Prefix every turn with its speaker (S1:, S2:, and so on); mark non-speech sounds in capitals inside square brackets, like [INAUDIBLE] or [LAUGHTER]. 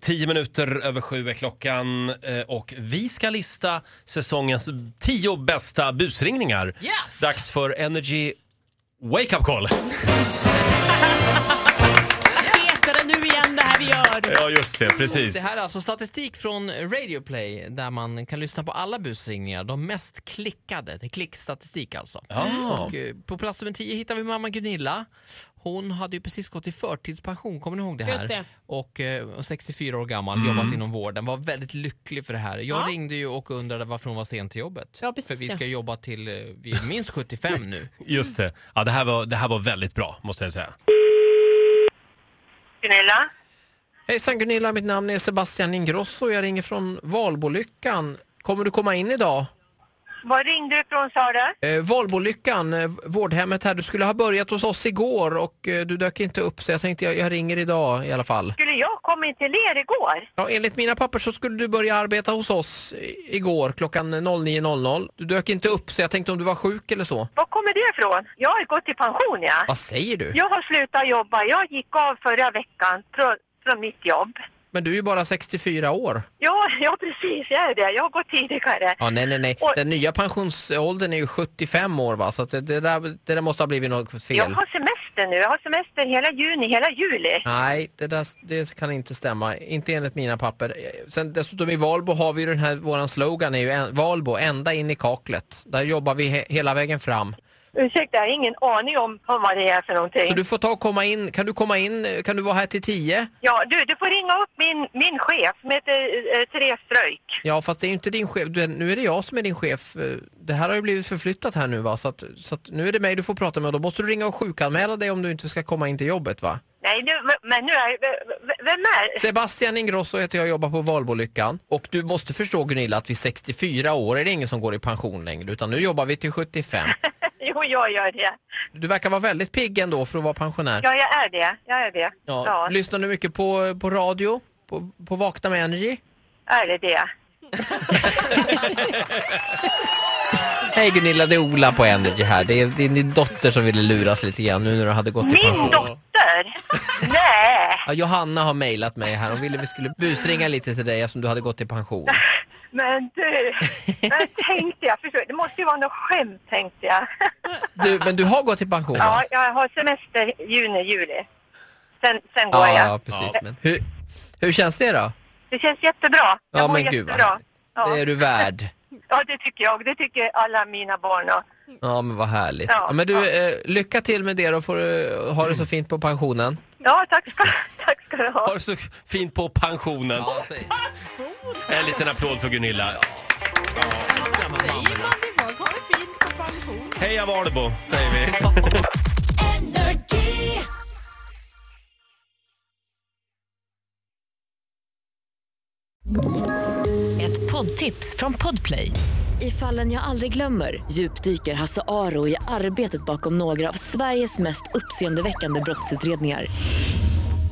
S1: Tio minuter över sju är klockan eh, och vi ska lista säsongens tio bästa busringningar.
S2: Yes!
S1: Dags för Energy Wake Up Call.
S3: Petar det nu igen det här vi gör.
S1: Ja, just det. Precis.
S2: Det här är alltså statistik från Radio Play där man kan lyssna på alla busringningar, de mest klickade. Det är klickstatistik alltså.
S1: Ja.
S2: Och, eh, på plats nummer 10 hittar vi mamma Gunilla. Hon hade ju precis gått i förtidspension, kommer ni ihåg det här?
S3: Just det.
S2: Och eh, 64 år gammal, jobbat inom vården, var väldigt lycklig för det här. Jag
S3: Ja.
S2: ringde ju och undrade varför hon var sen till jobbet.
S3: Ja, precis,
S2: för vi
S3: ja.
S2: ska jobba till, eh, vi är minst 75 nu.
S1: Just det. Ja, det, här var, det här var väldigt bra, måste jag säga.
S4: Gunilla?
S2: [LAUGHS] Hejsan Gunilla, mitt namn är Sebastian Ingrosso. Jag ringer från Valbolyckan. Kommer du komma in idag?
S4: Var ringde du ifrån sa du?
S2: Eh, Valbolyckan, eh, vårdhemmet här. Du skulle ha börjat hos oss igår och eh, du dök inte upp så jag tänkte jag, jag ringer idag i alla fall.
S4: Skulle jag komma in till er igår?
S2: Ja, enligt mina papper så skulle du börja arbeta hos oss i- igår klockan 09.00. Du dök inte upp så jag tänkte om du var sjuk eller så.
S4: Var kommer det ifrån? Jag har gått i pension ja.
S2: Vad säger du?
S4: Jag har slutat jobba. Jag gick av förra veckan från, från mitt jobb.
S2: Men du är ju bara 64 år.
S4: Ja, [LAUGHS] ja precis, jag är det. Jag har gått tidigare.
S2: Ja, nej, nej, nej.
S4: Oj.
S2: Den nya pensionsåldern är ju 75 år va, så att det, det, där, det där måste ha blivit något
S4: Jag
S2: fel.
S4: har semester nu. Jag har semester hela juni, hela juli.
S2: Nej, det, där, det kan inte stämma. Inte enligt mina papper. Eh, Sen dessutom i Valbo har vi ju den här, våran slogan är ju en, Valbo, ända in i kaklet. Där jobbar vi he, hela vägen fram.
S4: Ursäkta, jag har ingen aning om, om vad det är för någonting.
S2: Så du får ta och komma in. Kan du komma in? eh, Kan du vara här till 10?
S4: Ja, du, du får ringa upp min, min chef som heter eh, Therese Ströjk.
S2: Ja, fast det är ju inte din chef. Du, nu är det jag som är din chef. Eh, Det här har ju blivit förflyttat här nu va, så, att, så att nu är det mig du får prata med. Då måste du ringa och sjukanmäla dig om du inte ska komma in till jobbet va?
S4: Nej, du, men nu är... v- v- Vem är...
S2: Sebastian Ingrosso heter jag och jobbar på Valbolyckan. Och du måste förstå Gunilla att vid 64 år är det ingen som går i pension längre utan nu jobbar vi till 75.
S4: [LAUGHS] Jo, jag gör det.
S2: Du verkar vara väldigt pigg ändå för att vara pensionär.
S4: Ja, jag är det. Jag är det. Ja,
S2: Ja. Lyssnar du mycket på, på radio? På, på Vakna med Energy?
S4: är det det.
S2: Hej Gunilla, det är Ola på Energy här. Det är, det är din dotter som ville luras lite grann nu när du hade gått i
S4: Min
S2: pension.
S4: dotter? Nej,
S2: Ja, Johanna har mejlat mig här. Hon ville vi skulle busringa lite till dig eftersom du hade gått i pension.
S4: men
S2: [LAUGHS]
S4: du. Men tänkte jag, förstår, det måste ju vara något skämt tänkte jag.
S2: Du, men du har gått i pension? va?
S4: Ja, jag har semester juni, juli. Sen, sen går
S2: ja, ja
S4: jag.
S2: precis.
S1: Ja.
S2: Men hur, hur känns det då?
S4: Det känns jättebra. Jag
S2: Ja,
S4: mår
S2: men gud, vad
S4: jättebra.
S2: härligt. Det
S4: Ja.
S2: är du värd.
S4: ja, det tycker jag. Det tycker alla mina barn. Och,
S2: Ja men vad härligt.
S4: Ja,
S2: Ja, men du,
S4: ja.
S2: eh, lycka till med det då får du ha det så fint på pensionen.
S4: ja, tack ska, [LAUGHS] tack ska du ha.
S1: Har det så fint på pensionen. En liten applåd för Gunilla.
S3: Säger man till folk, ha det fint på pension.
S1: Heja Valbo, säger vi.
S5: Ett poddtips från Podplay. I fallen jag aldrig glömmer djupdyker Hasse Aro i arbetet bakom några av Sveriges mest uppseendeväckande brottsutredningar.